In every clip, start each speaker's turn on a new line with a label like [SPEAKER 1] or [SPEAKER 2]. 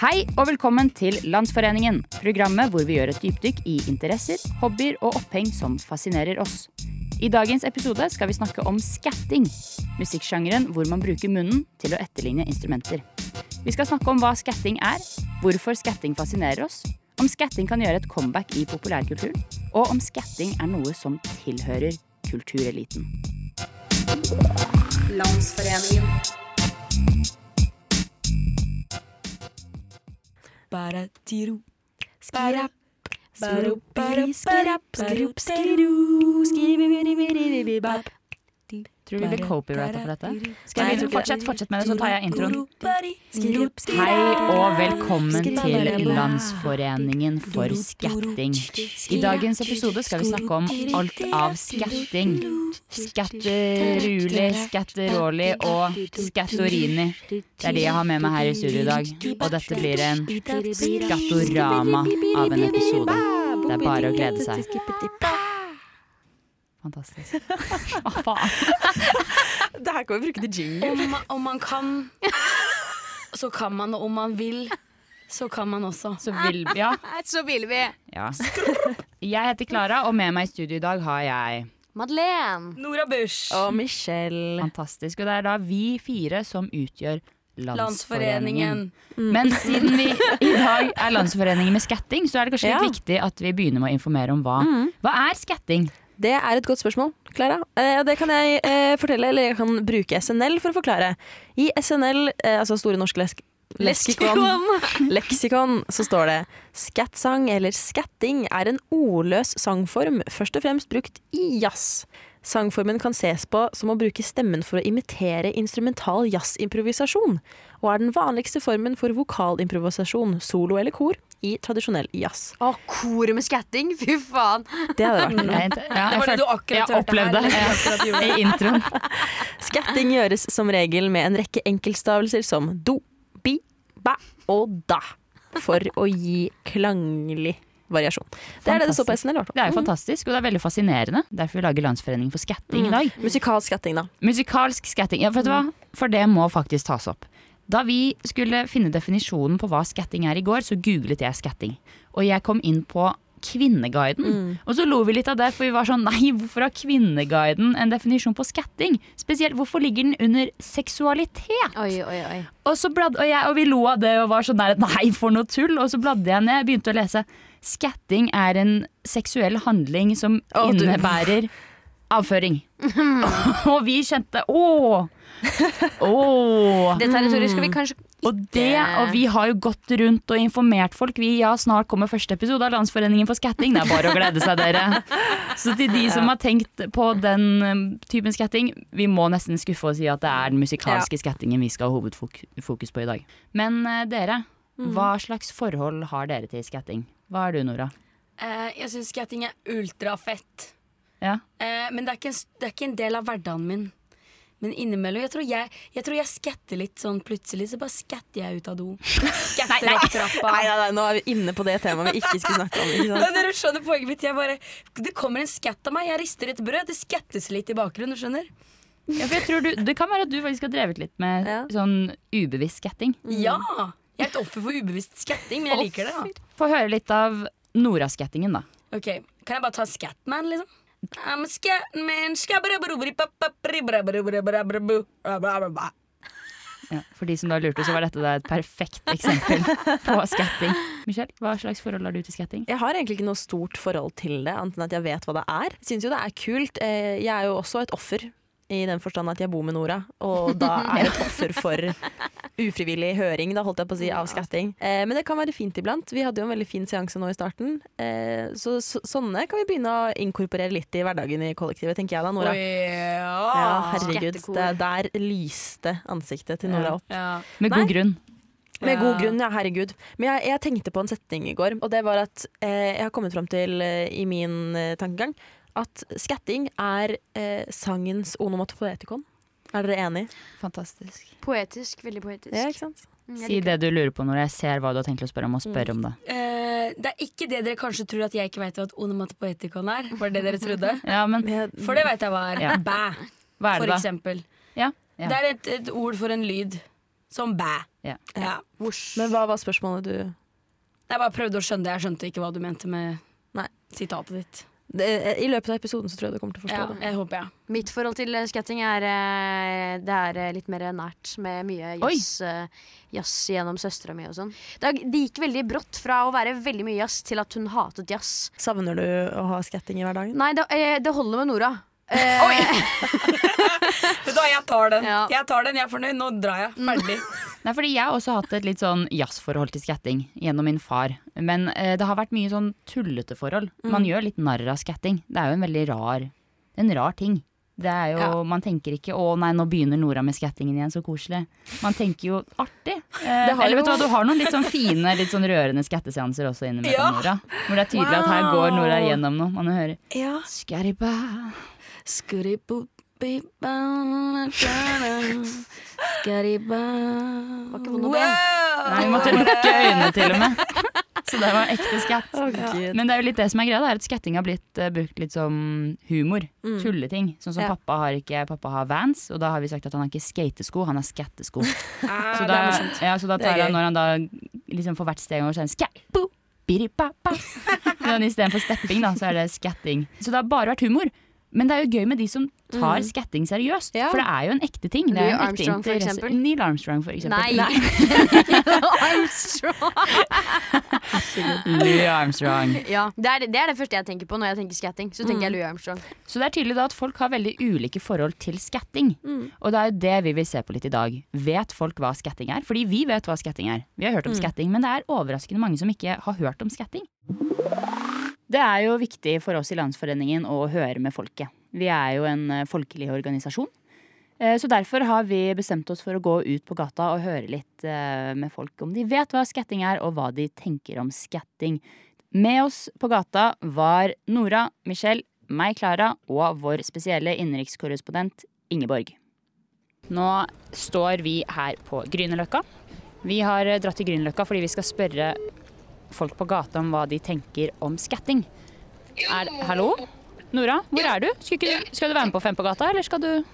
[SPEAKER 1] Hei og velkommen til Landsforeningen, programmet hvor vi gjør et dypdykk i interesser, hobbyer og oppheng som fascinerer oss. I dagens episode skal vi snakke om skatting, musikksjangeren hvor man bruker munnen til å etterligne instrumenter. Vi skal snakke om hva skatting er, hvorfor skatting fascinerer oss, om skatting kan gjøre et comeback i populærkulturen, og om skatting er noe som tilhører kultureliten.
[SPEAKER 2] Landsforeningen.
[SPEAKER 3] Bare tiro.
[SPEAKER 4] Skirap,
[SPEAKER 3] Bare-
[SPEAKER 4] skirap, skirap, skirap, skirap.
[SPEAKER 1] Tror vi blir copyrighta for dette? Skal jeg
[SPEAKER 3] Nei, jeg tror ikke
[SPEAKER 1] fortsett, fortsett med det, så tar jeg introen.
[SPEAKER 3] Skirap, skirap.
[SPEAKER 1] Hei og velkommen til Landsforeningen for skatting. I dagens episode skal vi snakke om alt av skatting. Skatteruli, skatteroli og skattorini. Det er de jeg har med meg her i studio i dag. Og dette blir en skattorama av en episode. Det er bare å glede seg. Fantastisk. Å, faen.
[SPEAKER 3] Det her kan vi bruke til jingle.
[SPEAKER 4] Om, ma- om man kan, så kan man. Og om man vil, så kan man også.
[SPEAKER 1] Så vil Ja.
[SPEAKER 2] Så vil vi.
[SPEAKER 1] ja. Jeg heter Klara, og med meg i studio i dag har jeg
[SPEAKER 2] Madeleine.
[SPEAKER 4] Nora Bush.
[SPEAKER 3] Og Michelle.
[SPEAKER 1] Fantastisk. Og det er da vi fire som utgjør Landsforeningen.
[SPEAKER 4] Landsforeningen.
[SPEAKER 1] Men siden vi i dag er Landsforeningen med skatting, så er det kanskje litt
[SPEAKER 3] Ja.
[SPEAKER 1] viktig at vi begynner med å informere om hva.
[SPEAKER 4] Mm.
[SPEAKER 1] Hva er skatting?
[SPEAKER 3] Det er et godt spørsmål, Klara. Eh, og det kan jeg eh, fortelle, eller jeg kan bruke SNL for å forklare. I SNL, eh, altså Store norske lesk leksikon, leksikon, så står det skattsang eller skatting er en ordløs sangform, først og fremst brukt i jazz. Sangformen kan ses på som å bruke stemmen for å imitere instrumental jazzimprovisasjon, og er den vanligste formen for vokalimprovisasjon, solo eller kor, i tradisjonell jazz.
[SPEAKER 2] Å, koret med skatting. Fy faen.
[SPEAKER 1] Mm.
[SPEAKER 3] Det hadde vært noe.
[SPEAKER 1] Jeg, ja,
[SPEAKER 4] Det var det du akkurat
[SPEAKER 1] jeg
[SPEAKER 4] hørte her.
[SPEAKER 1] opplevde
[SPEAKER 4] eller?
[SPEAKER 1] det i introen.
[SPEAKER 3] Skatting gjøres som regel med en rekke enkeltstavelser som do, bi, ba og da. For å gi klanglig variasjon. Det er det det står på SNL. i hvert fall.
[SPEAKER 1] Det er
[SPEAKER 4] Mm.
[SPEAKER 1] jo fantastisk, og det er veldig fascinerende. Derfor vi lager Landsforeningen for
[SPEAKER 4] Mm.
[SPEAKER 1] skatting i dag.
[SPEAKER 3] Musikalsk skatting, da.
[SPEAKER 1] Musikalsk skatting. Ja, vet du hva? For det må faktisk tas opp. Da vi skulle finne definisjonen på hva skatting er i går, så googlet jeg skatting. Og jeg kom inn på Kvinneguiden.
[SPEAKER 2] Mm.
[SPEAKER 1] Og så lo vi litt av det, for vi var sånn nei, hvorfor har Kvinneguiden en definisjon på skatting? Spesielt, hvorfor ligger den under seksualitet?
[SPEAKER 2] Oi, oi, oi.
[SPEAKER 1] Og, så bladd, og, jeg, og vi lo av det og var sånn der, nei, for noe tull. Og så bladde jeg ned, begynte å lese. Skatting er en seksuell handling som
[SPEAKER 3] Å, du-
[SPEAKER 1] innebærer avføring. og vi kjente åh! Åh!
[SPEAKER 2] Det territoriet skal vi kanskje
[SPEAKER 1] Og det, og vi har jo gått rundt og informert folk. Vi, ja, snart kommer første episode av Landsforeningen for skatting. Det er bare å glede seg, dere. Så til de som har tenkt på den eh, typen skatting, vi må nesten skuffe og si at det er den musikalske skattingen vi skal ha hovedfokus på i dag. Men eh, dere, hva slags forhold har dere til skatting? Hva er du, Nora?
[SPEAKER 4] Eh, Jeg syns skatting er ultrafett.
[SPEAKER 1] Ja.
[SPEAKER 4] Eh, Men det er, ikke en, det er ikke en del av hverdagen min. Men innimellom Jeg tror jeg, jeg, tror jeg skatter litt sånn plutselig, så bare skatter jeg ut av do. Skatter opp trappa.
[SPEAKER 3] Nei, nei, nei, nå er vi inne på det temaet vi ikke skulle snakke om.
[SPEAKER 1] altså.
[SPEAKER 3] Ikke
[SPEAKER 4] Men
[SPEAKER 3] sant?
[SPEAKER 4] dere skjønner poenget mitt. Jeg bare, det kommer en skatt av meg. Jeg rister et brød. Det skattes litt i bakgrunnen. du skjønner
[SPEAKER 1] ja, for jeg tror du, Det kan være at du faktisk har drevet litt med
[SPEAKER 3] Ja.
[SPEAKER 1] sånn ubevisst skatting.
[SPEAKER 4] Ja! Jeg er et offer for ubevisst skatting, men jeg liker det. da
[SPEAKER 1] Få høre litt av Nora-skattingen, da.
[SPEAKER 4] Ok, Kan jeg bare ta Scatman, liksom? I'm a Scatman skabrabrubribababrubribabrubribabrubribabru.
[SPEAKER 1] Ja, for de som da lurte, så var dette da et perfekt eksempel på skatting. Michelle, hva slags forhold har du til skatting?
[SPEAKER 3] Jeg har egentlig ikke noe stort forhold til det, annet enn at jeg vet hva det er. Jeg syns jo det er kult. Eh, Jeg er jo også et offer. I den forstand at jeg bor med Nora, og da er jeg et offer for ufrivillig høring. Da holdt jeg på å si av skatting. Eh, men det kan være fint iblant. Vi hadde jo en veldig fin seanse nå i starten. Eh, så, så sånne kan vi begynne å inkorporere litt i hverdagen i kollektivet, tenker jeg da, Nora. Ja, herregud.
[SPEAKER 2] Skattekor.
[SPEAKER 3] Det, der lyste ansiktet til Nora opp.
[SPEAKER 4] Ja.
[SPEAKER 1] Med
[SPEAKER 3] Nei.
[SPEAKER 1] god grunn.
[SPEAKER 3] Med god
[SPEAKER 4] Ja.
[SPEAKER 3] grunn, ja. Herregud. Men jeg, jeg tenkte på en setning i går, og det var at eh, jeg har kommet fram til eh, i min eh, tankegang at skatting er eh, sangens onomatopoetikon. Er dere enig?
[SPEAKER 1] Fantastisk.
[SPEAKER 2] Poetisk. Veldig poetisk.
[SPEAKER 3] ikke sant?
[SPEAKER 2] Mm, jeg
[SPEAKER 1] Si
[SPEAKER 2] liker
[SPEAKER 1] det du lurer på når jeg ser hva du har tenkt å spørre om, og spør om det.
[SPEAKER 4] Eh, det er ikke det dere kanskje tror at jeg ikke veit hva et onomatopoetikon er. Var det det dere trodde?
[SPEAKER 1] Ja, men
[SPEAKER 3] Jeg,
[SPEAKER 4] For det veit jeg hva er.
[SPEAKER 1] Ja.
[SPEAKER 4] Bæ,
[SPEAKER 1] hva er
[SPEAKER 4] for
[SPEAKER 1] det da?
[SPEAKER 4] eksempel.
[SPEAKER 1] Ja, ja.
[SPEAKER 4] Det er et, et ord for en lyd. Som bæ.
[SPEAKER 1] Ja.
[SPEAKER 5] Ja.
[SPEAKER 3] Men hva var spørsmålet du
[SPEAKER 5] Jeg bare prøvde å skjønne det. Jeg skjønte ikke hva du mente med
[SPEAKER 3] Nei.
[SPEAKER 5] sitatet ditt.
[SPEAKER 3] det, eh, I løpet av episoden så tror jeg du kommer til å forstå
[SPEAKER 5] Ja,
[SPEAKER 3] det.
[SPEAKER 5] jeg håper jeg.
[SPEAKER 2] Mitt forhold til eh, skatting er eh, Det er eh, litt mer nært, med mye
[SPEAKER 1] Oi.
[SPEAKER 2] jazz, eh, jazz gjennom søstera mi og sånn. Det er- det gikk veldig brått fra å være veldig mye jazz til at hun hatet jazz.
[SPEAKER 3] Savner du å ha skatting i hverdagen?
[SPEAKER 2] Nei, det, eh, det holder med Nora. Eh,
[SPEAKER 5] Vet du hva, jeg tar den.
[SPEAKER 2] Ja.
[SPEAKER 5] Jeg tar den, jeg er fornøyd. Nå drar jeg.
[SPEAKER 6] Mm.
[SPEAKER 5] Ferdig.
[SPEAKER 1] Nei, fordi Jeg har også hatt et litt sånn jazzforhold til skatting gjennom min far. Men eh, det har vært mye sånn tullete forhold.
[SPEAKER 3] Mm.
[SPEAKER 1] Man gjør litt narr av skatting. Det er jo en veldig rar, en rar ting. Det er jo, Man tenker ikke 'å nei, nå begynner Nora med skattingen igjen, så koselig'. Man tenker jo 'artig'. Eh,
[SPEAKER 3] Det har
[SPEAKER 1] eller vet du
[SPEAKER 3] jo-
[SPEAKER 1] hva, du har noen litt sånn fine, litt sånn rørende skatteseanser også innimellom,
[SPEAKER 5] Ja.
[SPEAKER 1] Nora. Hvor det er tydelig at her går Nora
[SPEAKER 5] Wow.
[SPEAKER 1] gjennom noe. Man hører
[SPEAKER 5] Ja.
[SPEAKER 1] Skariba.
[SPEAKER 2] var ikke vond å be.
[SPEAKER 1] Nei, vi måtte lukke øynene til og med. Så det var ekte skatt.
[SPEAKER 3] Å, Gud.
[SPEAKER 1] Men det er jo litt det som er greia, da, er at skatting har blitt eh, brukt litt som humor. Tulleting. Sånn som
[SPEAKER 3] Ja.
[SPEAKER 1] pappa har ikke Pappa har Vans, og da har vi sagt at han har ikke skatesko, han har skattesko.
[SPEAKER 5] Ah,
[SPEAKER 1] Så
[SPEAKER 5] det
[SPEAKER 1] da,
[SPEAKER 5] er morsomt.
[SPEAKER 1] ja, så da
[SPEAKER 3] Det er
[SPEAKER 1] tar han,
[SPEAKER 3] gøy.
[SPEAKER 1] når han da liksom får hvert steg over, så er det skatbo, biripapa. Men istedenfor stepping, da, så er det skatting. Så det har bare vært humor. Men det er jo gøy med de som tar skatting seriøst,
[SPEAKER 3] Ja.
[SPEAKER 1] for det er jo en ekte ting. Det
[SPEAKER 2] Neil
[SPEAKER 1] er jo en ekte
[SPEAKER 2] Armstrong, for
[SPEAKER 1] interesse.
[SPEAKER 2] eksempel.
[SPEAKER 1] Neil Armstrong, for eksempel.
[SPEAKER 2] Nei. Armstrong.
[SPEAKER 1] Louis Armstrong.
[SPEAKER 2] Ja, det, er, det er det første jeg tenker på når jeg tenker skatting. Så
[SPEAKER 1] Mm.
[SPEAKER 2] tenker jeg Louis Armstrong.
[SPEAKER 1] Så det er tydelig da at folk har veldig ulike forhold til skatting. Og det er jo det vi vil se på litt i dag. Vet folk hva skatting er? Fordi vi vet hva skatting er. Vi har hørt om skatting, men det er overraskende mange som ikke har hørt om skatting. Det er jo viktig for oss i Landsforeningen å høre med folket. Vi er jo en eh, folkelig organisasjon. Eh, Så derfor har vi bestemt oss for å gå ut på gata og høre litt eh, med folk om de vet hva skatting er, og hva de tenker om skatting. Med oss på gata var Nora, Michelle, meg, Klara, og vår spesielle innenrikskorrespondent Ingeborg. Nå står vi her på Grünerløkka. Vi har eh, dratt til Grünerløkka fordi vi skal spørre folk på gata om hva de tenker om skatting. Er,
[SPEAKER 7] Eh,
[SPEAKER 1] hallo? Nora, hvor er du? Skal, ikke, du- skal du være med på Fem på gata, eller skal du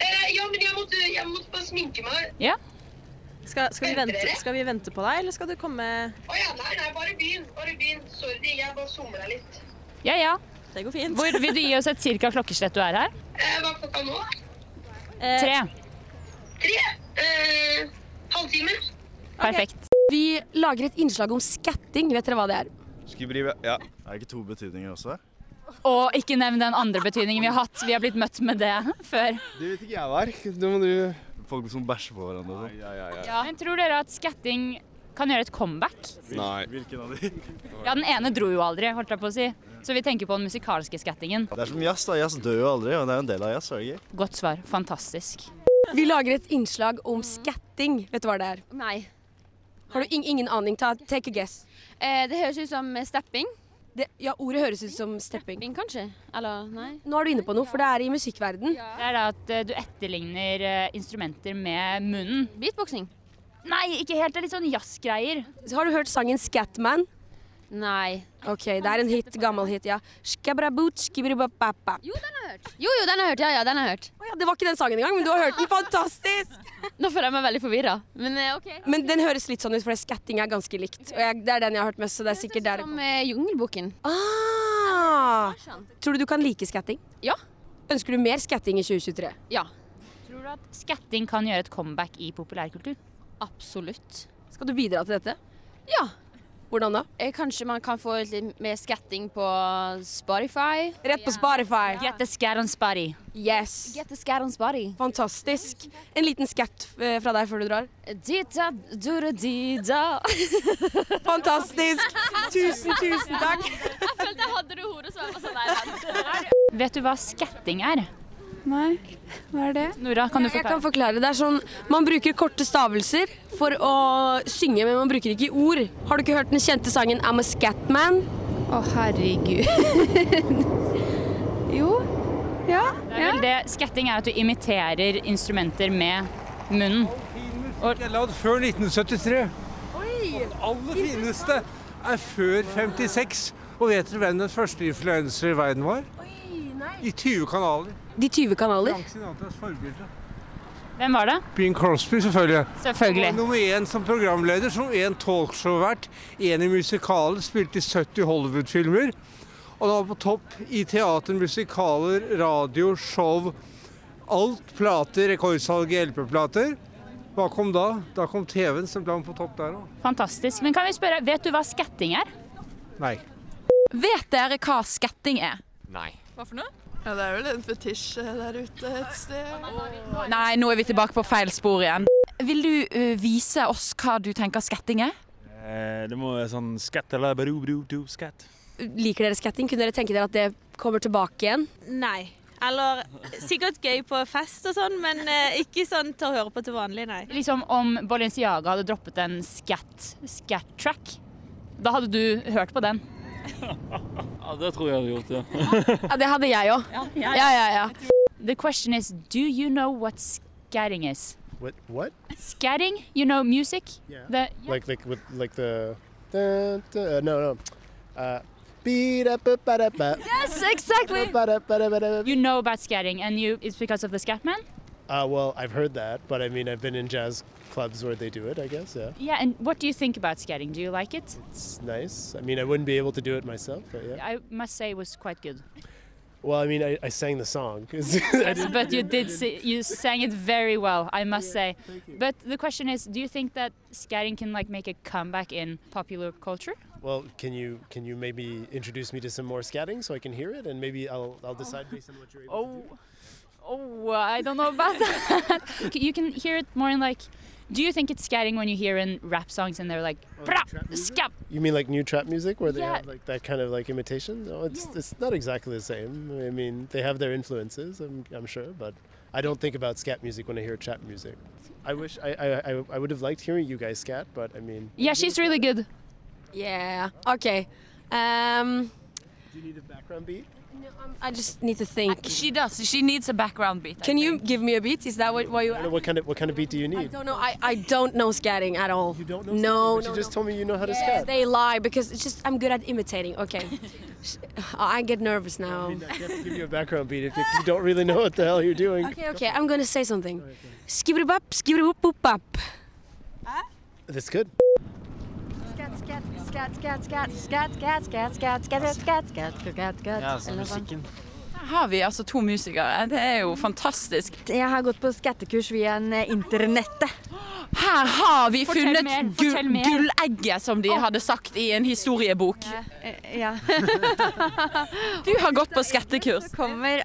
[SPEAKER 7] Eh, ja, men jeg måtte, jeg måtte bare sminke meg.
[SPEAKER 1] Ja?
[SPEAKER 3] Skal, skal, vi
[SPEAKER 7] Venter
[SPEAKER 3] vente,
[SPEAKER 7] dere?
[SPEAKER 3] skal vi vente på deg, eller skal du komme
[SPEAKER 7] Å ja, nei, nei, bare begynn. Bare begynn. Sorry, jeg bare somla litt.
[SPEAKER 1] Ja ja.
[SPEAKER 3] Det går fint.
[SPEAKER 1] Hvor, vil du gi oss et cirka klokkeslett du er her?
[SPEAKER 7] Eh, hva er klokka nå?
[SPEAKER 3] Eh,
[SPEAKER 1] Tre.
[SPEAKER 7] Tre? Eh, halvtime?
[SPEAKER 1] Perfekt.
[SPEAKER 4] Vi lager et innslag om skatting. Vet dere hva det er?
[SPEAKER 8] Skubrive, ja.
[SPEAKER 9] Er det ikke to betydninger også?
[SPEAKER 1] Og ikke nevn den andre betydningen vi har hatt. Vi har blitt møtt med det før.
[SPEAKER 8] Det vet ikke jeg hva er. Det må du
[SPEAKER 9] Folk som bæsjer på hverandre og sånn.
[SPEAKER 1] Men tror dere at skatting kan gjøre et comeback?
[SPEAKER 8] Nei.
[SPEAKER 9] Hvilken av de?
[SPEAKER 1] Ja, den ene dro jo aldri, holdt jeg på å si. Så vi tenker på den musikalske skattingen.
[SPEAKER 9] Det er som jazz, da. Jazz dør jo aldri, og det er jo en del av jazz. er det ikke?
[SPEAKER 1] Godt svar. Fantastisk.
[SPEAKER 4] Vi lager et innslag om skatting. Vet du hva det er?
[SPEAKER 6] Nei.
[SPEAKER 4] Har du ing ingen aning? Ta, take a guess.
[SPEAKER 6] Eh, det høres ut som stepping.
[SPEAKER 4] Det, ja, ordet høres ut som stepping.
[SPEAKER 6] Stepping, kanskje? Eller nei?
[SPEAKER 4] Nå er du inne på noe, for det er i musikkverden.
[SPEAKER 1] Det er da at eh, du etterligner eh, instrumenter med munnen.
[SPEAKER 6] Beatboxing?
[SPEAKER 1] Nei, ikke helt. Det er litt sånn jazzgreier.
[SPEAKER 4] Så Har du hørt sangen Scatman?
[SPEAKER 6] Nei.
[SPEAKER 4] Ok, det er en hit, gammel hit, ja. Skabraboot, skibiribababa.
[SPEAKER 6] Jo, den har jeg hørt. Jo, jo, den har jeg hørt. Ja, ja, den har jeg hørt.
[SPEAKER 4] Å ja, det var ikke den sangen engang, men du har hørt den. Fantastisk!
[SPEAKER 6] Nå føler jeg meg veldig forvirra. Men eh, OK.
[SPEAKER 4] Men den høres litt sånn ut, for det skatting er ganske likt. Og jeg, det er den jeg har hørt mest, så det er sikkert der det
[SPEAKER 6] Som eh, Jungelboken.
[SPEAKER 4] Ah! Tror du du kan like skatting?
[SPEAKER 6] Ja.
[SPEAKER 4] Ønsker du mer skatting i 2023?
[SPEAKER 6] Ja.
[SPEAKER 1] Tror du at skatting kan gjøre et comeback i populærkultur?
[SPEAKER 6] Absolutt.
[SPEAKER 4] Skal du bidra til dette?
[SPEAKER 6] Ja.
[SPEAKER 4] Hvordan da?
[SPEAKER 6] Eh, kanskje man kan få litt mer skatting på Spotify?
[SPEAKER 4] Rett på Spotify.
[SPEAKER 1] Get the scat on spotty.
[SPEAKER 4] Yes.
[SPEAKER 6] Get the scat on Spotify.
[SPEAKER 4] Fantastisk. En liten skatt eh, fra deg før du drar.
[SPEAKER 6] Dita, dura, dida.
[SPEAKER 4] Fantastisk. Tusen, tusen takk.
[SPEAKER 6] Jeg hadde det i hodet, så jeg var sånn Nei,
[SPEAKER 1] Vet du hva skatting er?
[SPEAKER 4] Nei, hva er det?
[SPEAKER 1] Nora, kan du
[SPEAKER 4] Jeg
[SPEAKER 1] forklare?
[SPEAKER 4] kan forklare. Det er sånn, Man bruker korte stavelser for å synge, men man bruker ikke ord. Har du ikke hørt den kjente sangen 'I'm a Scatman'?
[SPEAKER 10] Å, herregud. jo. Ja.
[SPEAKER 1] Det er vel det. Skatting er at du imiterer instrumenter med munnen.
[SPEAKER 11] Det er lagd før 1973. Og det aller fineste er før 56. Og vet dere hvem den første influenser i verden var? I 20 kanaler.
[SPEAKER 4] De 20 kanaler.
[SPEAKER 11] Frank Sinatras forbilde.
[SPEAKER 1] Hvem var det?
[SPEAKER 12] Bing Crosby, selvfølgelig.
[SPEAKER 1] Selvfølgelig.
[SPEAKER 12] Han var Nummer én som programleder, som én talkshow-vert, én i musikalen, spilte i 70 Hollywood-filmer. Og han var på topp i teater, musikaler, radio, show. Alt plater, rekordsalg i LP-plater. Hva kom da? Da kom TV-en, så ble han på topp der òg.
[SPEAKER 1] Fantastisk. Men kan vi spørre, vet du hva skatting er?
[SPEAKER 12] Nei.
[SPEAKER 13] Vet dere hva skatting er?
[SPEAKER 12] Nei.
[SPEAKER 13] Hva for noe?
[SPEAKER 14] Ja, det er vel en fetisj eh, der ute et sted. Og...
[SPEAKER 13] Nei, nå er vi tilbake på feil spor igjen. Vil du eh, vise oss hva du tenker skatting er?
[SPEAKER 15] Eh, Det må være sånn skatt eller bru, bru, du, skatt.
[SPEAKER 16] Liker dere skatting? Kunne dere tenke dere at det kommer tilbake igjen?
[SPEAKER 17] Nei. Eller sikkert gøy på fest og sånn, men eh, ikke sånn til å høre på til vanlig, nei.
[SPEAKER 1] Liksom om Balenciaga hadde droppet en scat, scat track, da hadde du hørt på den.
[SPEAKER 15] Ja, det tror jeg jeg hadde gjort, ja.
[SPEAKER 1] det hadde jeg òg.
[SPEAKER 15] ja,
[SPEAKER 1] ja, ja. The question is, do you know what scatting is?
[SPEAKER 11] What? What?
[SPEAKER 1] Scatting, you know music? Yeah. The,
[SPEAKER 11] Like like with like the dun, dun, uh, no no. Uh, beat up a ba da ba.
[SPEAKER 1] yes, exactly. You know about scatting and you it's because of the Scatman?
[SPEAKER 11] Uh, well, I've heard that, but I mean, I've been in jazz clubs where they do it. I guess, yeah.
[SPEAKER 1] Yeah, and what do you think about scatting? Do you like it?
[SPEAKER 11] It's nice. I mean, I wouldn't be able to do it myself, but yeah.
[SPEAKER 1] I must say it was quite good.
[SPEAKER 11] Well, I mean, I, I sang the song.
[SPEAKER 1] Yes, but you did si- you sang it very well, I must say. But the question is, do you think that scatting can like make a comeback in popular culture?
[SPEAKER 11] Well, can you can you maybe introduce me to some more scatting so I can hear it, and maybe I'll I'll decide based on what you're able
[SPEAKER 1] Oh, oh, I don't know about that. you can hear it more in like. Do you think it's scatting when you hear in rap songs and they're like, "Brap, scat,
[SPEAKER 11] You mean like new trap music where they
[SPEAKER 1] Yeah.
[SPEAKER 11] have like that kind of like imitation? No, it's it's not exactly the same. I mean, they have their influences, I'm, I'm sure, but I don't think about scat music when I hear trap music. I wish I I, I, I would have liked hearing you guys scat, but I mean,
[SPEAKER 1] Yeah, she's really good.
[SPEAKER 16] Yeah, OK. Um,
[SPEAKER 11] do you need a background beat?
[SPEAKER 16] I just need to think.
[SPEAKER 13] She does. She needs a background beat.
[SPEAKER 16] Can you give me a beat? Is that what, what you
[SPEAKER 11] I don't know what kind of what kind of beat do you
[SPEAKER 16] I
[SPEAKER 11] need?
[SPEAKER 16] don't know. I, I don't know scatting at all. You don't know? No,
[SPEAKER 11] But
[SPEAKER 16] no.
[SPEAKER 11] you just told me you know how to
[SPEAKER 16] Yeah,
[SPEAKER 11] scat.
[SPEAKER 16] They lie because it's just I'm good at imitating. Okay. Oh, I get nervous now.
[SPEAKER 11] Give you a background beat if you, you don't really know what the hell you're doing.
[SPEAKER 16] Okay, okay. I'm gonna say something. Skibberibop, skibberibop,
[SPEAKER 11] That's good.
[SPEAKER 18] Skat, skat, skat, skat, skat, skat, skat, skat, skat, skat, skat, skat, skat, skat. Eller sånn.
[SPEAKER 13] Her har vi altså to musikere. Det er jo fantastisk.
[SPEAKER 18] Jeg har gått på skattekurs via en, eh, internettet.
[SPEAKER 13] Her har vi
[SPEAKER 18] Fortell
[SPEAKER 13] funnet
[SPEAKER 18] mer,
[SPEAKER 13] gu-
[SPEAKER 18] fortell mer.
[SPEAKER 13] gullegget, som de hadde sagt i en historiebok.
[SPEAKER 18] Ja.
[SPEAKER 13] Du har gått på skattekurs.
[SPEAKER 18] Kommer meg!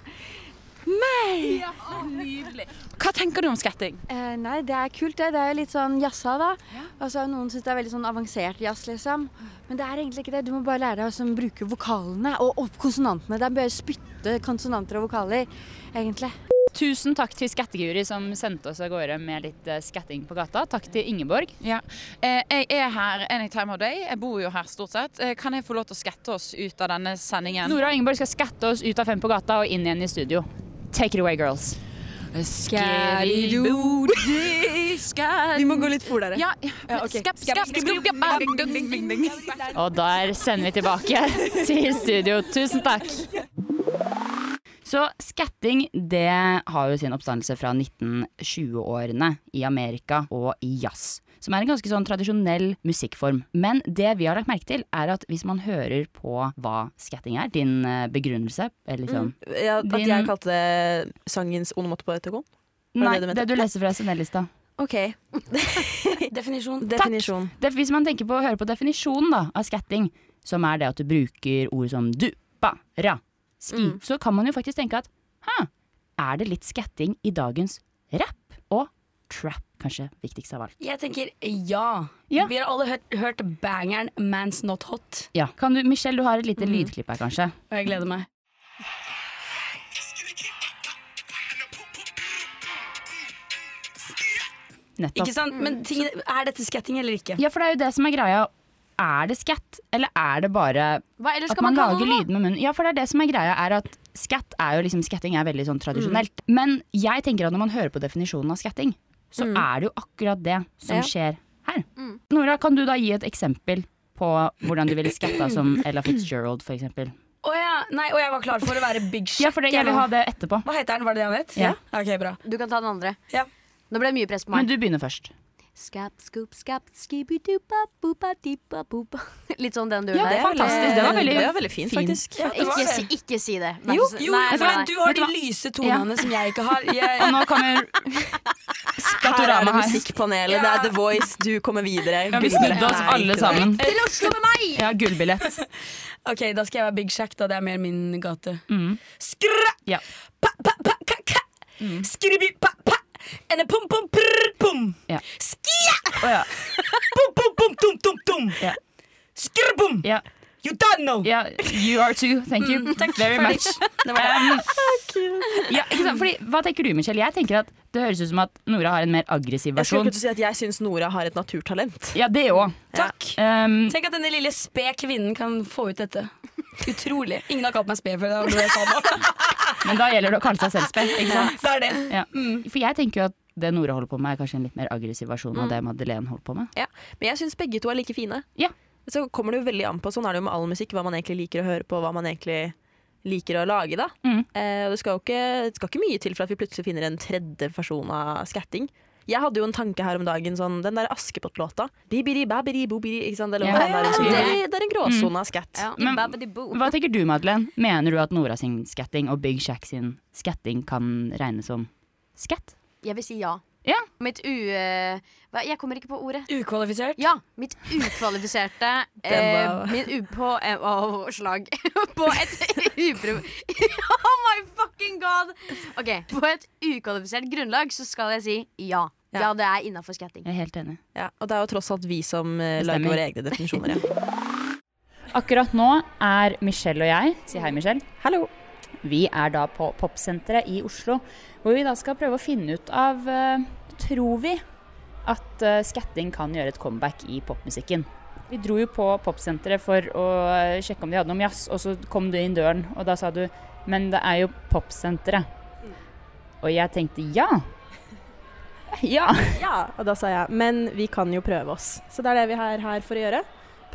[SPEAKER 13] Nydelig. Hva tenker du om skatting?
[SPEAKER 18] Eh, nei, det er kult det. Det er jo litt sånn jazza da. Altså, noen synes det er veldig sånn avansert jazz liksom. Men det er egentlig ikke det. Du må bare lære deg å sånn, bruke vokalene og, og konsonantene. Det er bare å spytte konsonanter og vokaler, egentlig.
[SPEAKER 1] Tusen takk til Skatteguri som sendte oss av gårde med litt eh, skatting på gata. Takk til Ingeborg.
[SPEAKER 13] Ja. Eh, jeg er her anytime of day. Jeg bor jo her stort sett. Eh, Kan jeg få lov til å skatte oss ut av denne sendingen?
[SPEAKER 1] Nora og Ingeborg skal skatte oss ut av Fem på gata og inn igjen i studio. Take it away, girls.
[SPEAKER 13] Skærido,
[SPEAKER 16] Vi må gå litt fortere.
[SPEAKER 13] Ja,
[SPEAKER 16] Ja, ok.
[SPEAKER 13] Skapp, skapp, skapp, skapp. Ding, ding, ding, ding, ding.
[SPEAKER 1] Og der sender vi tilbake til studio. Tusen takk. Så skatting det har jo sin oppstandelse fra 1920-årene i Amerika og i jazz. Som er en ganske sånn tradisjonell musikkform. Men det vi har lagt merke til, er at hvis man hører på hva skatting er, din eh, begrunnelse eller sånn
[SPEAKER 3] Ja, at
[SPEAKER 1] Din-
[SPEAKER 3] jeg kalte det sangens onomatopoetikon? Var
[SPEAKER 1] Nei, det,
[SPEAKER 3] det du mente?
[SPEAKER 1] du leser fra SNL-lista.
[SPEAKER 3] OK.
[SPEAKER 4] Definisjon.
[SPEAKER 3] Definisjon.
[SPEAKER 1] Det, hvis man tenker på å høre på definisjonen da, av skatting, som er det at du bruker ord som du, ba, ra, ski, så kan man jo faktisk tenke at «Hæ, er det litt skatting i dagens rap og trap, kanskje viktigst av alt.
[SPEAKER 4] Jeg tenker ja. Vi har alle hørt, hørt bangeren 'Man's Not Hot'.
[SPEAKER 1] Ja, kan du, Michelle, du har et lite lydklipp her, kanskje?
[SPEAKER 4] Og jeg gleder meg.
[SPEAKER 1] Nettopp.
[SPEAKER 4] Ikke sant? Men ting, er dette skatting eller ikke?
[SPEAKER 1] Ja, for det er jo det som er greia. Er det skatt, eller er det bare
[SPEAKER 4] Hva ellers
[SPEAKER 1] at
[SPEAKER 4] skal
[SPEAKER 1] man,
[SPEAKER 4] man kalle
[SPEAKER 1] lager
[SPEAKER 4] det, da?
[SPEAKER 1] lyd med munnen? Ja, for det er det som er greia, er at skatt er jo liksom, skatting er veldig sånn tradisjonelt.
[SPEAKER 4] Mm.
[SPEAKER 1] Men jeg tenker at når man hører på definisjonen av skatting, så
[SPEAKER 13] Mm.
[SPEAKER 1] er det jo akkurat det som
[SPEAKER 13] Ja.
[SPEAKER 1] skjer her.
[SPEAKER 4] Mm.
[SPEAKER 1] Nora, kan du da gi et eksempel på hvordan du ville skatta som Ella Fitzgerald, for eksempel?
[SPEAKER 4] Å ja. Nei, og jeg var klar for å være big shit.
[SPEAKER 1] Ja, for det, jeg vil ha det etterpå.
[SPEAKER 4] Hva heter den? Var det det han het?
[SPEAKER 1] Ja.
[SPEAKER 4] Ok, bra.
[SPEAKER 16] Du kan ta den andre.
[SPEAKER 4] Ja.
[SPEAKER 2] Nå ble det mye press på
[SPEAKER 1] Men
[SPEAKER 2] meg.
[SPEAKER 1] du begynner først.
[SPEAKER 2] Skap, scoop, skap, skibidubba, bubba, dibba, bubba. Litt sånn den duren
[SPEAKER 1] Ja, det
[SPEAKER 2] der.
[SPEAKER 1] er fantastisk. Det var veldig- Det var veldig fint, fint. faktisk.
[SPEAKER 2] Ja,
[SPEAKER 1] Ja, det var
[SPEAKER 2] ikke,
[SPEAKER 1] det.
[SPEAKER 2] si, ikke si det. Vær
[SPEAKER 4] Jo,
[SPEAKER 2] så snill.
[SPEAKER 4] jo for
[SPEAKER 2] Nei, nei,
[SPEAKER 4] du
[SPEAKER 2] nei.
[SPEAKER 4] har
[SPEAKER 2] Vet
[SPEAKER 4] de
[SPEAKER 2] hva?
[SPEAKER 4] lyse tonene
[SPEAKER 2] Ja.
[SPEAKER 4] som jeg ikke har. Jeg,
[SPEAKER 1] Og nå kommer
[SPEAKER 3] Her er
[SPEAKER 1] Skatorama
[SPEAKER 3] det
[SPEAKER 1] her.
[SPEAKER 3] musikkpanelet, det er The Voice, du kommer videre.
[SPEAKER 1] Ja, vi snudde oss alle sammen.
[SPEAKER 4] Til Oslo med meg!
[SPEAKER 1] Ja, gullbillett.
[SPEAKER 4] Ok, da skal jeg være Big Shack, da. Det er mer min gate.
[SPEAKER 1] Mm.
[SPEAKER 4] Skrra!
[SPEAKER 1] Ja.
[SPEAKER 4] Pa, pa, pa, ka, ka. Skribi, pa, pa. Enne pom, pom, prr, pom.
[SPEAKER 1] Ja.
[SPEAKER 4] Skia!
[SPEAKER 1] Å ja.
[SPEAKER 4] Pom, pom, pom, tom, tom, tom.
[SPEAKER 1] Ja.
[SPEAKER 4] Skrrbom!
[SPEAKER 1] Ja.
[SPEAKER 4] You don't know!
[SPEAKER 1] Ja, you are too. Thank you very
[SPEAKER 4] Ferdig.
[SPEAKER 1] much.
[SPEAKER 4] Mm, Det var det. Ah,
[SPEAKER 1] Um, ja, ikke sant? Fordi, hva tenker du, Michelle? Jeg tenker at det høres ut som at Nora har en mer aggressiv
[SPEAKER 3] Jeg skulle
[SPEAKER 1] versjon.
[SPEAKER 3] ikke si at jeg syns Nora har et naturtalent.
[SPEAKER 1] Ja, det òg.
[SPEAKER 4] Takk.
[SPEAKER 1] Um,
[SPEAKER 4] Tenk at denne lille sped kvinnen kan få ut dette. Utrolig. Ingen har kalt meg sped før. Det var noe jeg sa nå.
[SPEAKER 1] men da gjelder det å kalle seg selvspill, ikke sant?
[SPEAKER 4] Det er det.
[SPEAKER 1] Ja.
[SPEAKER 4] Mm.
[SPEAKER 1] For jeg tenker jo at det Nora holder på med, er kanskje en litt mer aggressiv versjon av
[SPEAKER 3] Mm.
[SPEAKER 1] det Madeleine holder på med.
[SPEAKER 3] Ja, men jeg syns begge to er like fine. Så kommer det jo veldig an på, sånn er det jo med all musikk, hva man egentlig liker å høre på, hva man egentlig liker å lage, da.
[SPEAKER 1] Mm.
[SPEAKER 3] Eh, og det skal jo ikke, det skal ikke mye til for at vi plutselig finner en tredje versjon av skatting. Jeg hadde jo en tanke her om dagen, sånn, den der Askepott-låta. Bibidi, babidi, bobidi, ikke sant? Eller,
[SPEAKER 1] Ja.
[SPEAKER 3] hva den
[SPEAKER 1] Ja.
[SPEAKER 3] der-
[SPEAKER 1] Mm.
[SPEAKER 3] det, er- det er en gråsone av skatt.
[SPEAKER 1] Men hva tenker du, Madeleine? Mener du at Nora sin skatting og Big Shack sin skatting kan regnes som skatt?
[SPEAKER 2] Jeg vil si ja. Mitt u... eh, Hva, jeg kommer ikke på ordet.
[SPEAKER 4] Ukvalifisert?
[SPEAKER 2] Ja. Mitt ukvalifiserte
[SPEAKER 4] Den
[SPEAKER 2] eh,
[SPEAKER 4] var-
[SPEAKER 2] Min u... På eh, å, slag. på et uprov... oh my fucking god! Ok, På et ukvalifisert grunnlag så skal jeg si ja. Ja, det er innafor skatting.
[SPEAKER 1] Jeg er helt enig.
[SPEAKER 3] Ja, og det er jo tross alt vi som eh,
[SPEAKER 1] Bestemmer.
[SPEAKER 3] lager våre egne definisjoner. Ja.
[SPEAKER 1] Akkurat nå er Michelle og jeg Si hei, Michelle.
[SPEAKER 3] Hallo.
[SPEAKER 1] Vi er da på Popsenteret i Oslo, hvor vi da skal prøve å finne ut av eh, Tror vi at eh, skatting kan gjøre et comeback i popmusikken? Vi dro jo på Popsenteret for å eh, sjekke om de hadde noe om jazz, og så kom du inn døren, og da sa du Men det er jo Popsenteret. Og jeg tenkte ja. Ja.
[SPEAKER 3] ja! Og da sa jeg men vi kan jo prøve oss. Så det er det vi er her for å gjøre.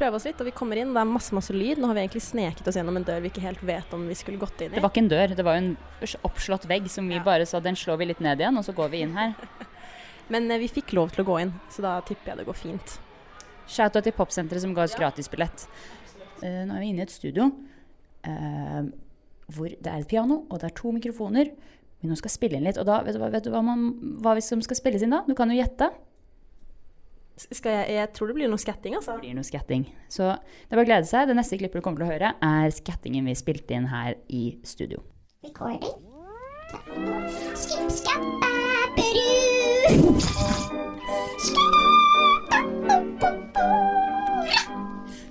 [SPEAKER 3] Prøve oss litt, og vi kommer inn. Det er masse masse lyd. Nå har vi egentlig sneket oss gjennom en dør vi ikke helt vet om vi skulle gått inn i.
[SPEAKER 1] Det var ikke en dør, det var jo en oppslått vegg som vi bare sa den slår vi litt ned igjen, og så går vi inn her.
[SPEAKER 3] Men eh, vi fikk lov til å gå inn, så da tipper jeg det går fint.
[SPEAKER 1] Shout-out til Popsenteret som ga oss gratisbillett. Eh, nå er vi inne i et studio eh, hvor det er et piano, og det er to mikrofoner. Men nå skal spille inn litt, og da vet du hva, vet du hva, man, hva som skal spilles inn da? Du kan jo gjette.
[SPEAKER 3] S- Skal jeg, jeg tror det blir noe skatting, altså.
[SPEAKER 1] Det blir noe skatting. Så det er bare å glede seg. Det neste klippet du kommer til å høre, er skattingen vi spilte inn her i studio.
[SPEAKER 19] Recording. Skip, skap, babadoo.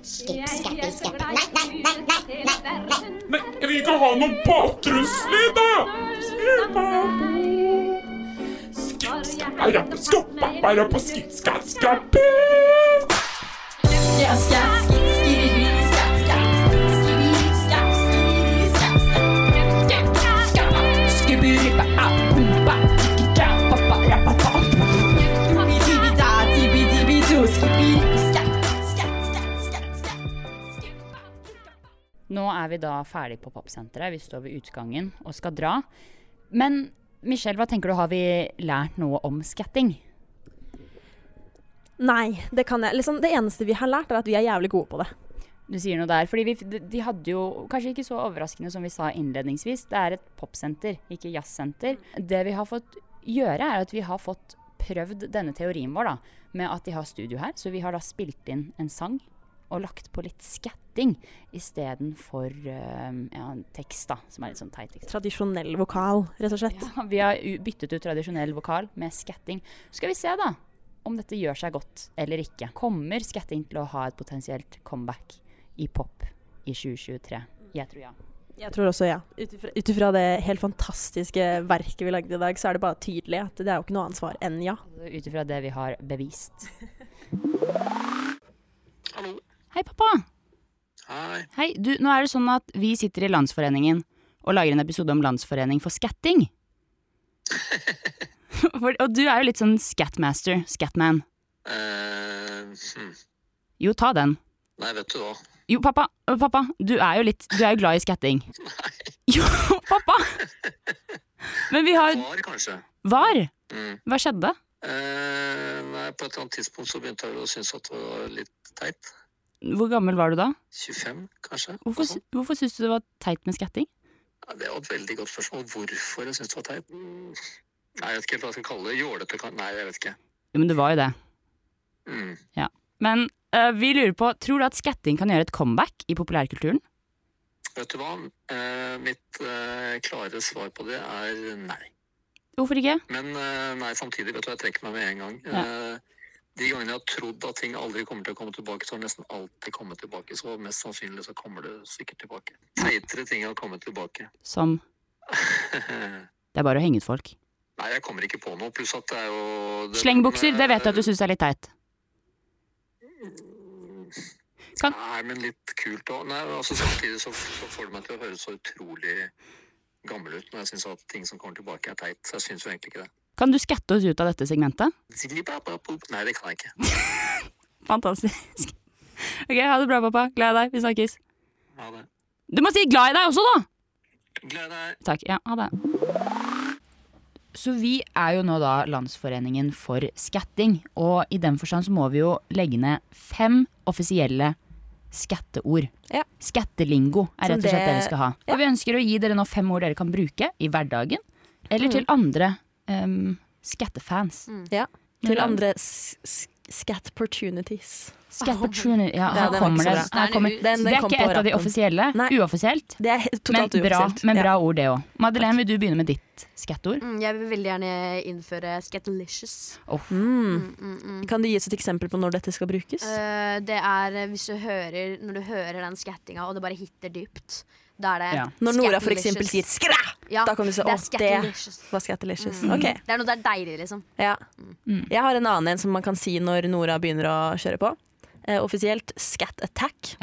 [SPEAKER 19] Skip, skap, bo, bo, bo, ra. Skip, skap, skap. Nei, nei, nei, nei, nei, nei.
[SPEAKER 15] Nei, jeg vil ikke ha noen baktrusler, da!
[SPEAKER 1] Nå er vi da ferdig på Popsenteret. Vi står ved utgangen og skal dra. Men Michelle, hva tenker du, har vi lært noe om skatting?
[SPEAKER 3] Nei, det kan jeg. Liksom, det eneste vi har lært, er at vi er jævlig gode på det.
[SPEAKER 1] Du sier noe der. Fordi vi, de- de hadde jo, kanskje ikke så overraskende som vi sa innledningsvis, det er et popsenter, ikke jazzsenter. Det vi har fått gjøre, er at vi har fått prøvd denne teorien vår, da, med at de har studio her. Så vi har da spilt inn en sang og lagt på litt skatting istedenfor uh, ja, en tekst, da, som er litt sånn teit. Ikke sant?
[SPEAKER 3] Tradisjonell vokal, rett og slett.
[SPEAKER 1] Ja, vi har u- byttet ut tradisjonell vokal med skatting. Så skal vi se, da, om dette gjør seg godt eller ikke. Kommer skatting til å ha et potensielt comeback i pop i 2023? Jeg tror ja.
[SPEAKER 3] Jeg tror også, ja. Ut ifra- Ut ifra det helt fantastiske verket vi lagde i dag, så er det bare tydelig at det er jo ikke noe annet svar enn ja.
[SPEAKER 1] Ut ifra det vi har bevist. Hei, pappa.
[SPEAKER 7] Hei.
[SPEAKER 1] Hei, du, nå er det sånn at vi sitter i Landsforeningen og lager en episode om Landsforening for skatting. For, og du er jo litt sånn scatmaster, scatman.
[SPEAKER 7] Eh, hm.
[SPEAKER 1] Jo, ta den.
[SPEAKER 7] Nei, vet du hva.
[SPEAKER 1] Jo, pappa, øh, pappa, du er jo litt Du er jo glad i skatting. Nei. Jo, pappa! Men vi har
[SPEAKER 7] Var, kanskje.
[SPEAKER 1] Var?
[SPEAKER 7] Mm.
[SPEAKER 1] Hva skjedde?
[SPEAKER 7] Eh, nei, på et eller annet tidspunkt så begynte jeg vel å synes at det var litt teit.
[SPEAKER 1] Hvor gammel var du da?
[SPEAKER 7] 25, kanskje? noe
[SPEAKER 1] Hvorfor,
[SPEAKER 7] sånt.
[SPEAKER 1] sy- hvorfor syns du det var teit med skatting?
[SPEAKER 7] Ja, det er jo et veldig godt spørsmål. Hvorfor jeg synes det var teit? Mm. Nei, jeg vet ikke helt hva jeg skal kalle det. Jålete? kan- Nei, jeg vet ikke.
[SPEAKER 1] Jo, men det var jo det.
[SPEAKER 7] Mm.
[SPEAKER 1] Ja. Men eh, vi lurer på, tror du at skatting kan gjøre et comeback i populærkulturen?
[SPEAKER 7] Vet du hva? Eh, mitt eh, klare svar på det er nei.
[SPEAKER 1] Hvorfor ikke?
[SPEAKER 7] Men eh, nei, samtidig, vet du, hva, jeg trekker meg med en gang. Eh, De gangene jeg har trodd at ting aldri kommer til å komme tilbake, så har det nesten alltid kommet tilbake. Så mest sannsynlig så kommer det sikkert tilbake. Teitere ting har kommet tilbake.
[SPEAKER 1] Som
[SPEAKER 7] nei,
[SPEAKER 1] Det er bare å henge ut folk.
[SPEAKER 7] jeg kommer ikke på noe. Pluss at det er jo det-
[SPEAKER 1] Slengbukser, det vet jeg at du syns er litt teit. Kan-
[SPEAKER 7] Nei, Mm. men litt kult òg. Nei, altså samtidig så, så får det meg til å høre så utrolig gammel ut når jeg syns at ting som kommer tilbake, er teit. Så jeg syns jo egentlig ikke det.
[SPEAKER 1] Kan du skatte oss ut av dette segmentet?
[SPEAKER 7] Nei, det kan jeg ikke.
[SPEAKER 1] Fantastisk. Ok, ha det bra, pappa. Glad i deg. Vi snakkes.
[SPEAKER 7] Ha det.
[SPEAKER 1] Du må si glad i deg også, da!
[SPEAKER 7] Gled deg.
[SPEAKER 1] Takk. Ja, ha det. Så vi er jo nå da Landsforeningen for skatting, og i den forstand så må vi jo legge ned fem offisielle skatteord. Skattelingo er
[SPEAKER 13] Som
[SPEAKER 1] rett og slett det
[SPEAKER 13] det-
[SPEAKER 1] vi skal ha. Og vi ønsker å gi dere nå fem ord dere kan bruke i hverdagen, eller til andre em, skattefans.
[SPEAKER 3] Mm. Ja.
[SPEAKER 1] Men
[SPEAKER 3] Til
[SPEAKER 1] da-
[SPEAKER 3] andre s- s- scatportunities.
[SPEAKER 1] Skatteportunities, ja,
[SPEAKER 3] Den
[SPEAKER 1] her
[SPEAKER 3] var ikke
[SPEAKER 1] kommer
[SPEAKER 3] så
[SPEAKER 1] det.
[SPEAKER 3] bra.
[SPEAKER 1] Her kommer-
[SPEAKER 3] Den- den
[SPEAKER 1] det er
[SPEAKER 3] kom
[SPEAKER 1] ikke
[SPEAKER 3] på
[SPEAKER 1] et av de
[SPEAKER 3] rappen.
[SPEAKER 1] offisielle. Uoffisielt.
[SPEAKER 3] Det er totalt
[SPEAKER 1] men bra,
[SPEAKER 3] uoffisielt.
[SPEAKER 1] men
[SPEAKER 3] Ja.
[SPEAKER 1] bra ord, det òg. Madeleine, vil du begynne med ditt skatteord?
[SPEAKER 2] Mm, jeg vil veldig gjerne innføre Skatlicious.
[SPEAKER 3] Mm. Kan du gi oss et eksempel på når dette skal brukes?
[SPEAKER 2] Eh, det er eh, hvis du hører, når du hører den skattinga, og det bare hitter dypt. Da er det
[SPEAKER 3] Ja. Når Nora for
[SPEAKER 2] Skatlicious.
[SPEAKER 3] eksempel sier skræ,
[SPEAKER 2] Ja,
[SPEAKER 3] da kan du si
[SPEAKER 2] det er
[SPEAKER 3] å, det
[SPEAKER 2] Skatlicious.
[SPEAKER 3] var skattelicious.
[SPEAKER 2] Mm.
[SPEAKER 3] Ok.
[SPEAKER 2] Det er noe der deilig, liksom.
[SPEAKER 3] Ja.
[SPEAKER 1] Mm.
[SPEAKER 3] Jeg har en annen en som man kan si når Nora begynner å kjøre på. Eh, offisielt scat attack.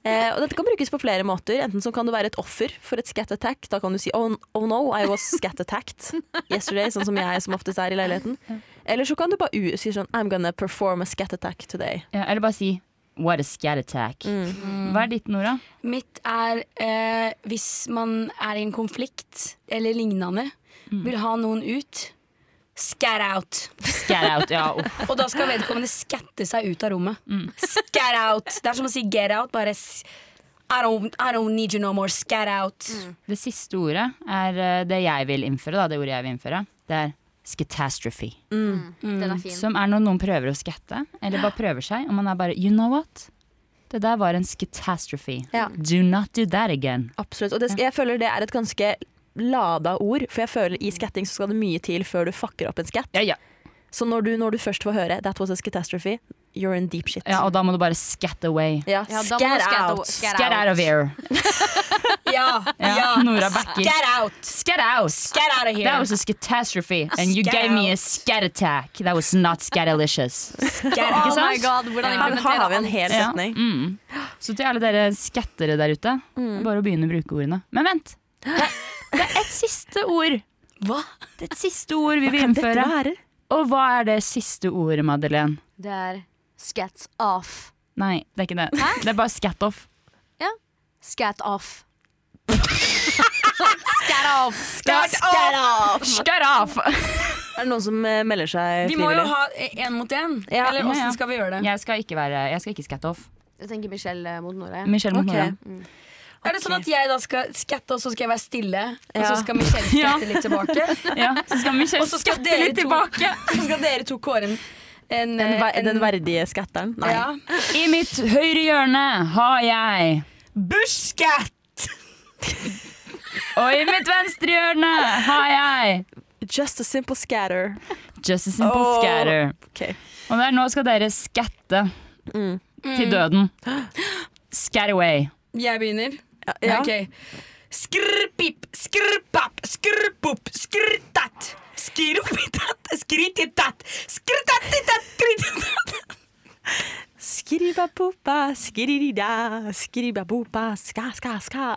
[SPEAKER 3] Eh, og dette kan brukes på flere måter. Enten så kan du være et offer for et scat attack. Da kan du si oh, oh no, I was scat attacked yesterday, sånn som jeg som oftest er i leiligheten. Eller så kan du bare u si sånn I'm gonna perform a scat attack today.
[SPEAKER 1] Ja, eller bare si What a scat attack. Hva er ditt, Nora?
[SPEAKER 4] Mitt er eh, hvis man er i en konflikt eller lignende, vil ha noen ut. Scat out.
[SPEAKER 1] Scat out, ja. uff.
[SPEAKER 4] Og da skal vedkommende skatte seg ut av rommet. Scat out. Det er som å si get out. Bare s- I don't, I don't need you no more. Scat out.
[SPEAKER 1] Det siste ordet er eh, det jeg vil innføre, da, det ordet jeg vil innføre. Det er scatastrophe.
[SPEAKER 3] Mm.
[SPEAKER 2] Den er fin.
[SPEAKER 1] Som er når noen prøver å skatte, eller bare prøver seg, og man er bare You know what? Det der var en scatastrophe.
[SPEAKER 3] Ja.
[SPEAKER 1] Do not do that again.
[SPEAKER 3] Absolutt. Og det, jeg føler det er et ganske lada ord, for jeg føler i skatting så skal det mye til før du fucker opp en skatt. Så når du, når du først får høre 'that was a catastrophe', you're in deep shit.
[SPEAKER 1] Ja, og da må du bare scat away.
[SPEAKER 3] Ja,
[SPEAKER 1] da må du
[SPEAKER 3] scat
[SPEAKER 1] scat
[SPEAKER 3] out.
[SPEAKER 1] Scat, out of here.
[SPEAKER 4] Ja,
[SPEAKER 1] Ja, Nora backer.
[SPEAKER 4] Scat out.
[SPEAKER 1] Scat out.
[SPEAKER 4] Scat out of here.
[SPEAKER 1] That was a catastrophe, and you
[SPEAKER 4] Scat
[SPEAKER 1] gave me a scat attack. That was not scatalicious.
[SPEAKER 2] Oh my god, hvordan
[SPEAKER 3] Her har vi en
[SPEAKER 2] implementere
[SPEAKER 3] hel
[SPEAKER 1] Ja.
[SPEAKER 3] setning.
[SPEAKER 1] Mm. Så til alle dere skattere der ute, bare å begynne å bruke ordene. Men vent! Det er et siste ord.
[SPEAKER 4] Hva?
[SPEAKER 1] Det er et siste ord vi
[SPEAKER 3] Hva
[SPEAKER 1] vil
[SPEAKER 3] kan dette
[SPEAKER 1] innføre.
[SPEAKER 3] være?
[SPEAKER 1] Og hva er det siste ordet, Madeleine?
[SPEAKER 2] alt? Det er scats off.
[SPEAKER 1] Nei, det er ikke det. Det er bare scat off.
[SPEAKER 2] Ja. Scat off. scat off.
[SPEAKER 1] Scat off! Scat off!
[SPEAKER 3] Er det noen som eh, melder seg
[SPEAKER 4] Vi må jo
[SPEAKER 3] frivillig?
[SPEAKER 4] ha én mot én. Eller
[SPEAKER 1] Ja, ja.
[SPEAKER 4] åssen skal vi gjøre det?
[SPEAKER 1] Jeg skal ikke, være, jeg skal ikke scat off.
[SPEAKER 2] Jeg tenker Michelle eh, mot Nora. jeg.
[SPEAKER 1] Michelle mot
[SPEAKER 4] Ok.
[SPEAKER 1] Nora.
[SPEAKER 4] Er det sånn at jeg da skal skatte, og så skal jeg være stille? Og
[SPEAKER 1] Ja.
[SPEAKER 4] så skal Michelle skatte
[SPEAKER 1] Ja.
[SPEAKER 4] litt tilbake?
[SPEAKER 1] Ja, så skal Michelle
[SPEAKER 4] Og så skal
[SPEAKER 1] skatte
[SPEAKER 4] dere
[SPEAKER 1] litt
[SPEAKER 4] to-
[SPEAKER 1] tilbake.
[SPEAKER 4] Så skal dere to kåre en, en,
[SPEAKER 3] Den, ver-
[SPEAKER 4] eh, en-
[SPEAKER 3] den verdige skatteren? Nei.
[SPEAKER 4] Ja.
[SPEAKER 1] I mitt høyre hjørne har jeg
[SPEAKER 4] Bushcat!
[SPEAKER 1] Og i mitt venstre hjørne har jeg
[SPEAKER 3] Just a simple scatter.
[SPEAKER 1] Just a simple
[SPEAKER 3] Åh,
[SPEAKER 1] scatter.
[SPEAKER 3] ok.
[SPEAKER 1] Og der nå skal dere skatte til
[SPEAKER 4] Mm.
[SPEAKER 1] døden. Scat away.
[SPEAKER 4] Jeg begynner.
[SPEAKER 3] ja.
[SPEAKER 4] Ok. Skrrpip, skrrpap, skrrpop, skrrtat. Skirropitat, skrititat, skritatitat, skrititat.
[SPEAKER 3] Skribabopa, skririda, skribabopa, ska, ska, ska.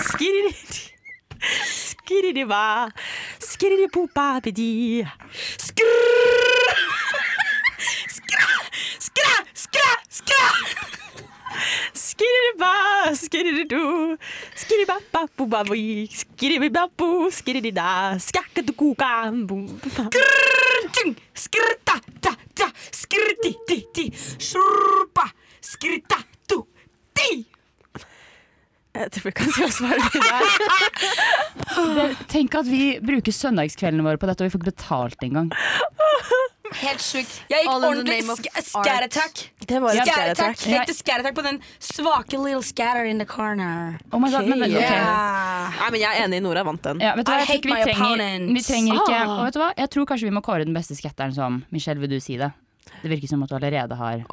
[SPEAKER 3] Skriridi, skiridiba, skiridibopa, bidi. Skrrr! Skra, skra, skra, skra! Skiridiba, skiridu, skiribababubabi, skiribibabu, skiridida, skakkadukukambu.
[SPEAKER 20] Skrrrtung, skrrrta-ta-ta, skrrrti-ti-ti, sjurpa, skrrrta-tu-ti.
[SPEAKER 3] Jeg tror ikke han skal svare på det.
[SPEAKER 1] Det- Tenk at vi bruker søndagskveldene våre på dette, og vi får ikke betalt engang.
[SPEAKER 4] Helt sjukt. Jeg gikk
[SPEAKER 2] All in the
[SPEAKER 4] ordentlig
[SPEAKER 2] name of
[SPEAKER 4] sk-
[SPEAKER 2] art.
[SPEAKER 4] scare attack.
[SPEAKER 3] Det var en
[SPEAKER 4] Scare
[SPEAKER 3] scare
[SPEAKER 4] attack.
[SPEAKER 3] attack.
[SPEAKER 4] Jeg gikk til scare attack på den svake little scatter in the corner.
[SPEAKER 1] Oh my God, men- ok.
[SPEAKER 3] Nei, men jeg er enig, Nora vant den.
[SPEAKER 1] Ja, vet du hva?
[SPEAKER 4] I
[SPEAKER 1] Jeg tror
[SPEAKER 4] hate
[SPEAKER 1] ikke
[SPEAKER 4] my
[SPEAKER 1] vi trenger,
[SPEAKER 4] opponents.
[SPEAKER 1] vi trenger ikke
[SPEAKER 4] Ah.
[SPEAKER 1] Og vet du hva? Jeg tror kanskje vi må kåre den beste skatteren som Michelle, vil du si det? Det virker som at du allerede har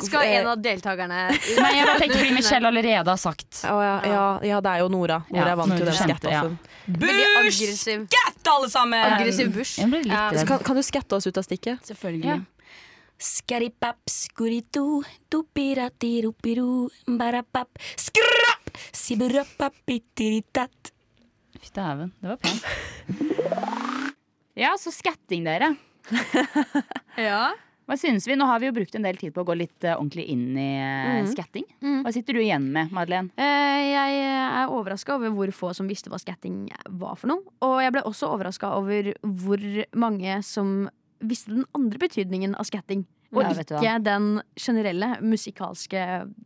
[SPEAKER 2] Skal
[SPEAKER 3] Eh,
[SPEAKER 2] en av deltakerne
[SPEAKER 1] Nei, jeg bare tenkte fordi Michelle allerede har sagt
[SPEAKER 3] Å ja, ja, ja, det er jo Nora. Nora
[SPEAKER 1] Ja,
[SPEAKER 3] vant
[SPEAKER 1] hun
[SPEAKER 3] jo den
[SPEAKER 1] kjente,
[SPEAKER 3] skatta.
[SPEAKER 1] ja.
[SPEAKER 3] så-
[SPEAKER 2] Veldig aggressiv.
[SPEAKER 4] Skatt, alle sammen!
[SPEAKER 2] Aggressiv bush.
[SPEAKER 1] Jeg ble litt
[SPEAKER 4] Ja.
[SPEAKER 3] Så Kan, kan du skatte oss ut av stikket?
[SPEAKER 4] Selvfølgelig. Skaripap, skuritu, dupiratirupiru, barapap, skrrap, siburapapitiritat.
[SPEAKER 1] Fy dæven, det var pent. Ja, så skatting, dere.
[SPEAKER 2] ja.
[SPEAKER 1] Hva synes vi? Nå har vi jo brukt en del tid på å gå litt eh, ordentlig inn i eh,
[SPEAKER 3] Mm.
[SPEAKER 2] Mhm.
[SPEAKER 1] skatting. Hva sitter du igjen med, Madeleine?
[SPEAKER 2] Eh, Jeg er overraska over hvor få som visste hva skatting var for noe. Og jeg ble også overraska over hvor mange som visste den andre betydningen av skatting. Og
[SPEAKER 3] Ja, vet du
[SPEAKER 2] ikke
[SPEAKER 3] hva.
[SPEAKER 2] den generelle musikalske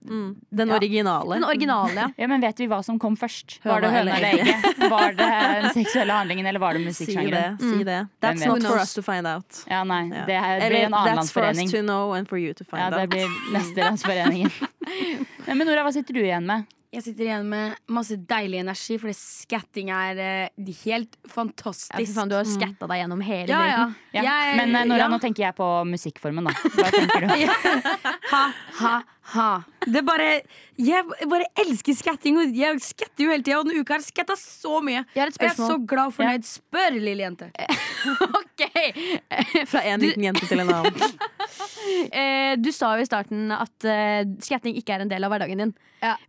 [SPEAKER 3] Den originale.
[SPEAKER 2] Den originale, ja.
[SPEAKER 1] Ja, men vet vi hva som kom først?
[SPEAKER 3] Høna
[SPEAKER 1] Var det høna
[SPEAKER 3] eller
[SPEAKER 1] eller
[SPEAKER 3] egget?
[SPEAKER 1] egget? Var det den seksuelle handlingen, eller var det musikksjangeren?
[SPEAKER 3] Si det. Si det. That's not for us to find out.
[SPEAKER 1] Ja, nei.
[SPEAKER 3] Ja.
[SPEAKER 1] Det her
[SPEAKER 3] Eller,
[SPEAKER 1] blir en annen
[SPEAKER 3] That's for us
[SPEAKER 1] landsforening.
[SPEAKER 3] to know and for you to find
[SPEAKER 1] Ja, det
[SPEAKER 3] out.
[SPEAKER 1] blir neste landsforeningen. Nei, Men Nora, hva sitter du igjen med?
[SPEAKER 4] Jeg sitter igjen med masse deilig energi, fordi skatting er eh, helt fantastisk. Mm.
[SPEAKER 2] Ja, fy faen, du har skatta deg gjennom hele
[SPEAKER 4] ja, ja.
[SPEAKER 2] driten.
[SPEAKER 1] Ja.
[SPEAKER 4] Jeg-
[SPEAKER 1] Men eh, Nora,
[SPEAKER 4] ja.
[SPEAKER 1] nå tenker jeg på musikkformen, da. Hva tenker du?
[SPEAKER 4] Ha, ha, ha. Det er bare Jeg bare elsker skatting, og jeg skatter jo hele tida. Og denne uka har jeg skatta så mye.
[SPEAKER 2] Jeg har et
[SPEAKER 4] Og jeg er så
[SPEAKER 2] spørsmål.
[SPEAKER 4] glad og fornøyd. Spør, lille jente.
[SPEAKER 3] Fra en liten jente til en annen.
[SPEAKER 2] Eh, Du sa jo i starten at eh, skatting ikke er en del av hverdagen din.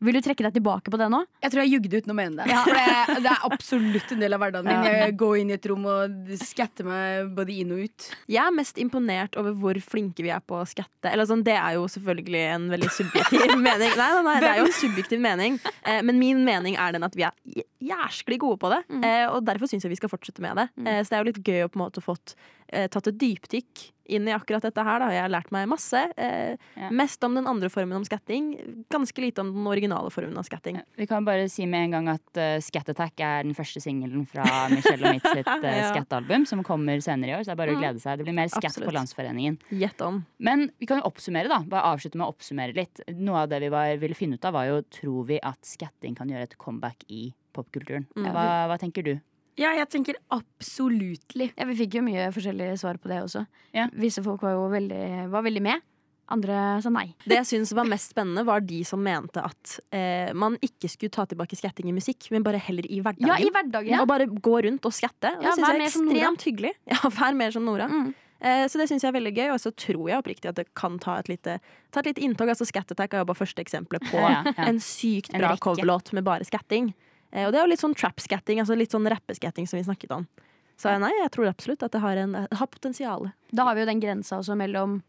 [SPEAKER 2] Vil du trekke deg tilbake på det nå?
[SPEAKER 4] Jeg tror jeg jugde uten å mene det.
[SPEAKER 2] Ja.
[SPEAKER 4] For det, det er absolutt en del av hverdagen min.
[SPEAKER 2] Ja.
[SPEAKER 4] Jeg går inn i et rom og skatter meg både inn og ut.
[SPEAKER 3] Jeg er mest imponert over hvor flinke vi er på å skatte. Eller sånn, det er jo selvfølgelig en veldig subjektiv mening. Nei, nei, nei, det er jo en subjektiv mening. Eh, men min mening er den at vi er j- jæsklig gode på det.
[SPEAKER 4] Mm.
[SPEAKER 3] Eh, og derfor syns jeg vi skal fortsette med det. Eh, så det er jo litt gøy å på en måte fått eh, tatt et dypdykk inn i akkurat dette her. Da. Jeg har lært meg masse. Eh, Mest om den andre formen om skatting. Ganske lite om den originale formen av skatting.
[SPEAKER 1] Vi kan bare si med en gang at eh, Scat Attack er den første singelen fra Michelle og mitt sitt uh,
[SPEAKER 3] Ja.
[SPEAKER 1] skattealbum, som kommer senere i år. Så det er bare å
[SPEAKER 3] Mm.
[SPEAKER 1] glede seg. Det blir mer skatt
[SPEAKER 3] Absolutt.
[SPEAKER 1] på Landsforeningen.
[SPEAKER 3] Gjett om.
[SPEAKER 1] Men vi kan jo oppsummere, da. Bare avslutte med å oppsummere litt. Noe av det vi var, ville finne ut av, var jo tror vi at skatting kan gjøre et comeback i popkulturen.
[SPEAKER 4] Mm.
[SPEAKER 1] Hva, hva tenker du?
[SPEAKER 4] Ja, jeg tenker absolutely.
[SPEAKER 2] Ja, vi fikk jo mye forskjellige svar på det også. Visse folk var jo veldig, var veldig med. Andre sa nei.
[SPEAKER 3] Det jeg syns var mest spennende, var de som mente at eh, man ikke skulle ta tilbake skatting i musikk, men bare heller i hverdagen.
[SPEAKER 2] Ja, i hverdagen, ja.
[SPEAKER 3] Og bare gå rundt og skatte. Og
[SPEAKER 2] Ja,
[SPEAKER 3] det
[SPEAKER 2] vær
[SPEAKER 3] syns jeg er
[SPEAKER 2] mer som Nora. Mm.
[SPEAKER 3] ekstremt hyggelig. Ja, vær mer som Nora. Eh, Så det syns jeg er veldig gøy, og så tror jeg oppriktig at det kan ta et lite, ta et lite inntog. Altså Scat Attack er jo bare første eksempelet på
[SPEAKER 1] Ja, ja.
[SPEAKER 3] en sykt
[SPEAKER 1] En
[SPEAKER 3] bra
[SPEAKER 1] rekke.
[SPEAKER 3] coverlåt med bare skatting. Eh, Og det er jo litt sånn trap-skatting, altså litt sånn rappeskatting som vi snakket om. Så nei, jeg tror absolutt at det har, en, har potensial.
[SPEAKER 2] Da har vi jo den grensa også mellom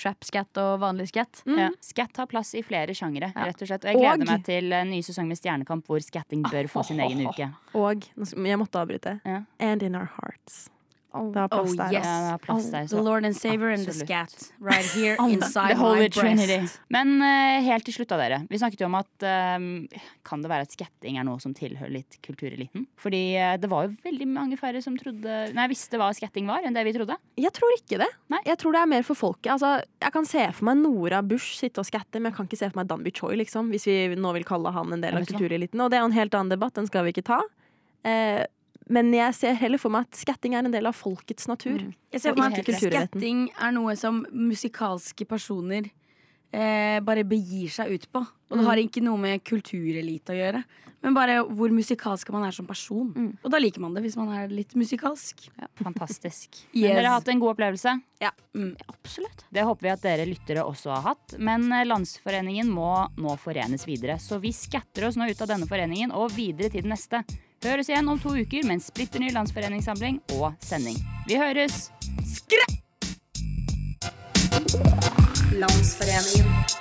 [SPEAKER 2] trap-scat og vanlig scat.
[SPEAKER 1] Ja. Skatt har plass i flere sjangere, rett og slett. Og jeg
[SPEAKER 3] Og-
[SPEAKER 1] gleder meg til en ny sesong med Stjernekamp hvor skatting bør få sin egen uke.
[SPEAKER 3] Og nå skal- jeg måtte avbryte. And in our hearts. Det har plass
[SPEAKER 4] Oh,
[SPEAKER 3] der.
[SPEAKER 4] yes.
[SPEAKER 1] Ja, det har plass der, så
[SPEAKER 4] the Lord and Savior and the
[SPEAKER 1] absolutt.
[SPEAKER 4] scat. Right here
[SPEAKER 1] Om
[SPEAKER 4] inside
[SPEAKER 1] The Holy
[SPEAKER 4] my
[SPEAKER 1] Trinity.
[SPEAKER 4] breast.
[SPEAKER 1] Men eh, helt til slutt av dere. Vi snakket jo om at eh, kan det være at skatting er noe som tilhører litt kultureliten? Fordi eh, det var jo veldig mange færre som trodde Nei, visste hva skatting var, enn det vi trodde.
[SPEAKER 3] Jeg tror ikke det. Jeg tror det er mer for folket. Altså, jeg kan se for meg Nora Bush sitte og skatte, men jeg kan ikke se for meg Danby Choi, liksom, hvis vi nå vil kalle han en del
[SPEAKER 1] Ja,
[SPEAKER 3] av
[SPEAKER 1] vet du hva?
[SPEAKER 3] kultureliten. Og det er jo en helt annen debatt, den skal vi ikke ta. Eh, men jeg ser heller for meg at skatting er en del av folkets natur.
[SPEAKER 4] Jeg ser
[SPEAKER 3] og
[SPEAKER 4] for meg
[SPEAKER 3] ikke
[SPEAKER 4] at
[SPEAKER 3] kultureliten.
[SPEAKER 4] skatting er noe som musikalske personer eh, bare begir seg ut på. Og det
[SPEAKER 3] Mm.
[SPEAKER 4] har ikke noe med kulturelite å gjøre, men bare hvor musikalsk man er som person.
[SPEAKER 3] Mm.
[SPEAKER 4] Og da liker man det, hvis man er litt musikalsk.
[SPEAKER 1] Fantastisk.
[SPEAKER 4] Yes.
[SPEAKER 1] Men dere har hatt en god opplevelse?
[SPEAKER 3] Ja,
[SPEAKER 4] Mm.
[SPEAKER 1] absolutt. Det håper vi at dere lyttere også har hatt. Men eh, Landsforeningen må nå forenes videre, så vi skatter oss nå ut av denne foreningen og videre til den neste. Høres igjen om to uker med en splitter ny landsforeningssamling og sending. Vi høres!
[SPEAKER 19] Landsforeningen.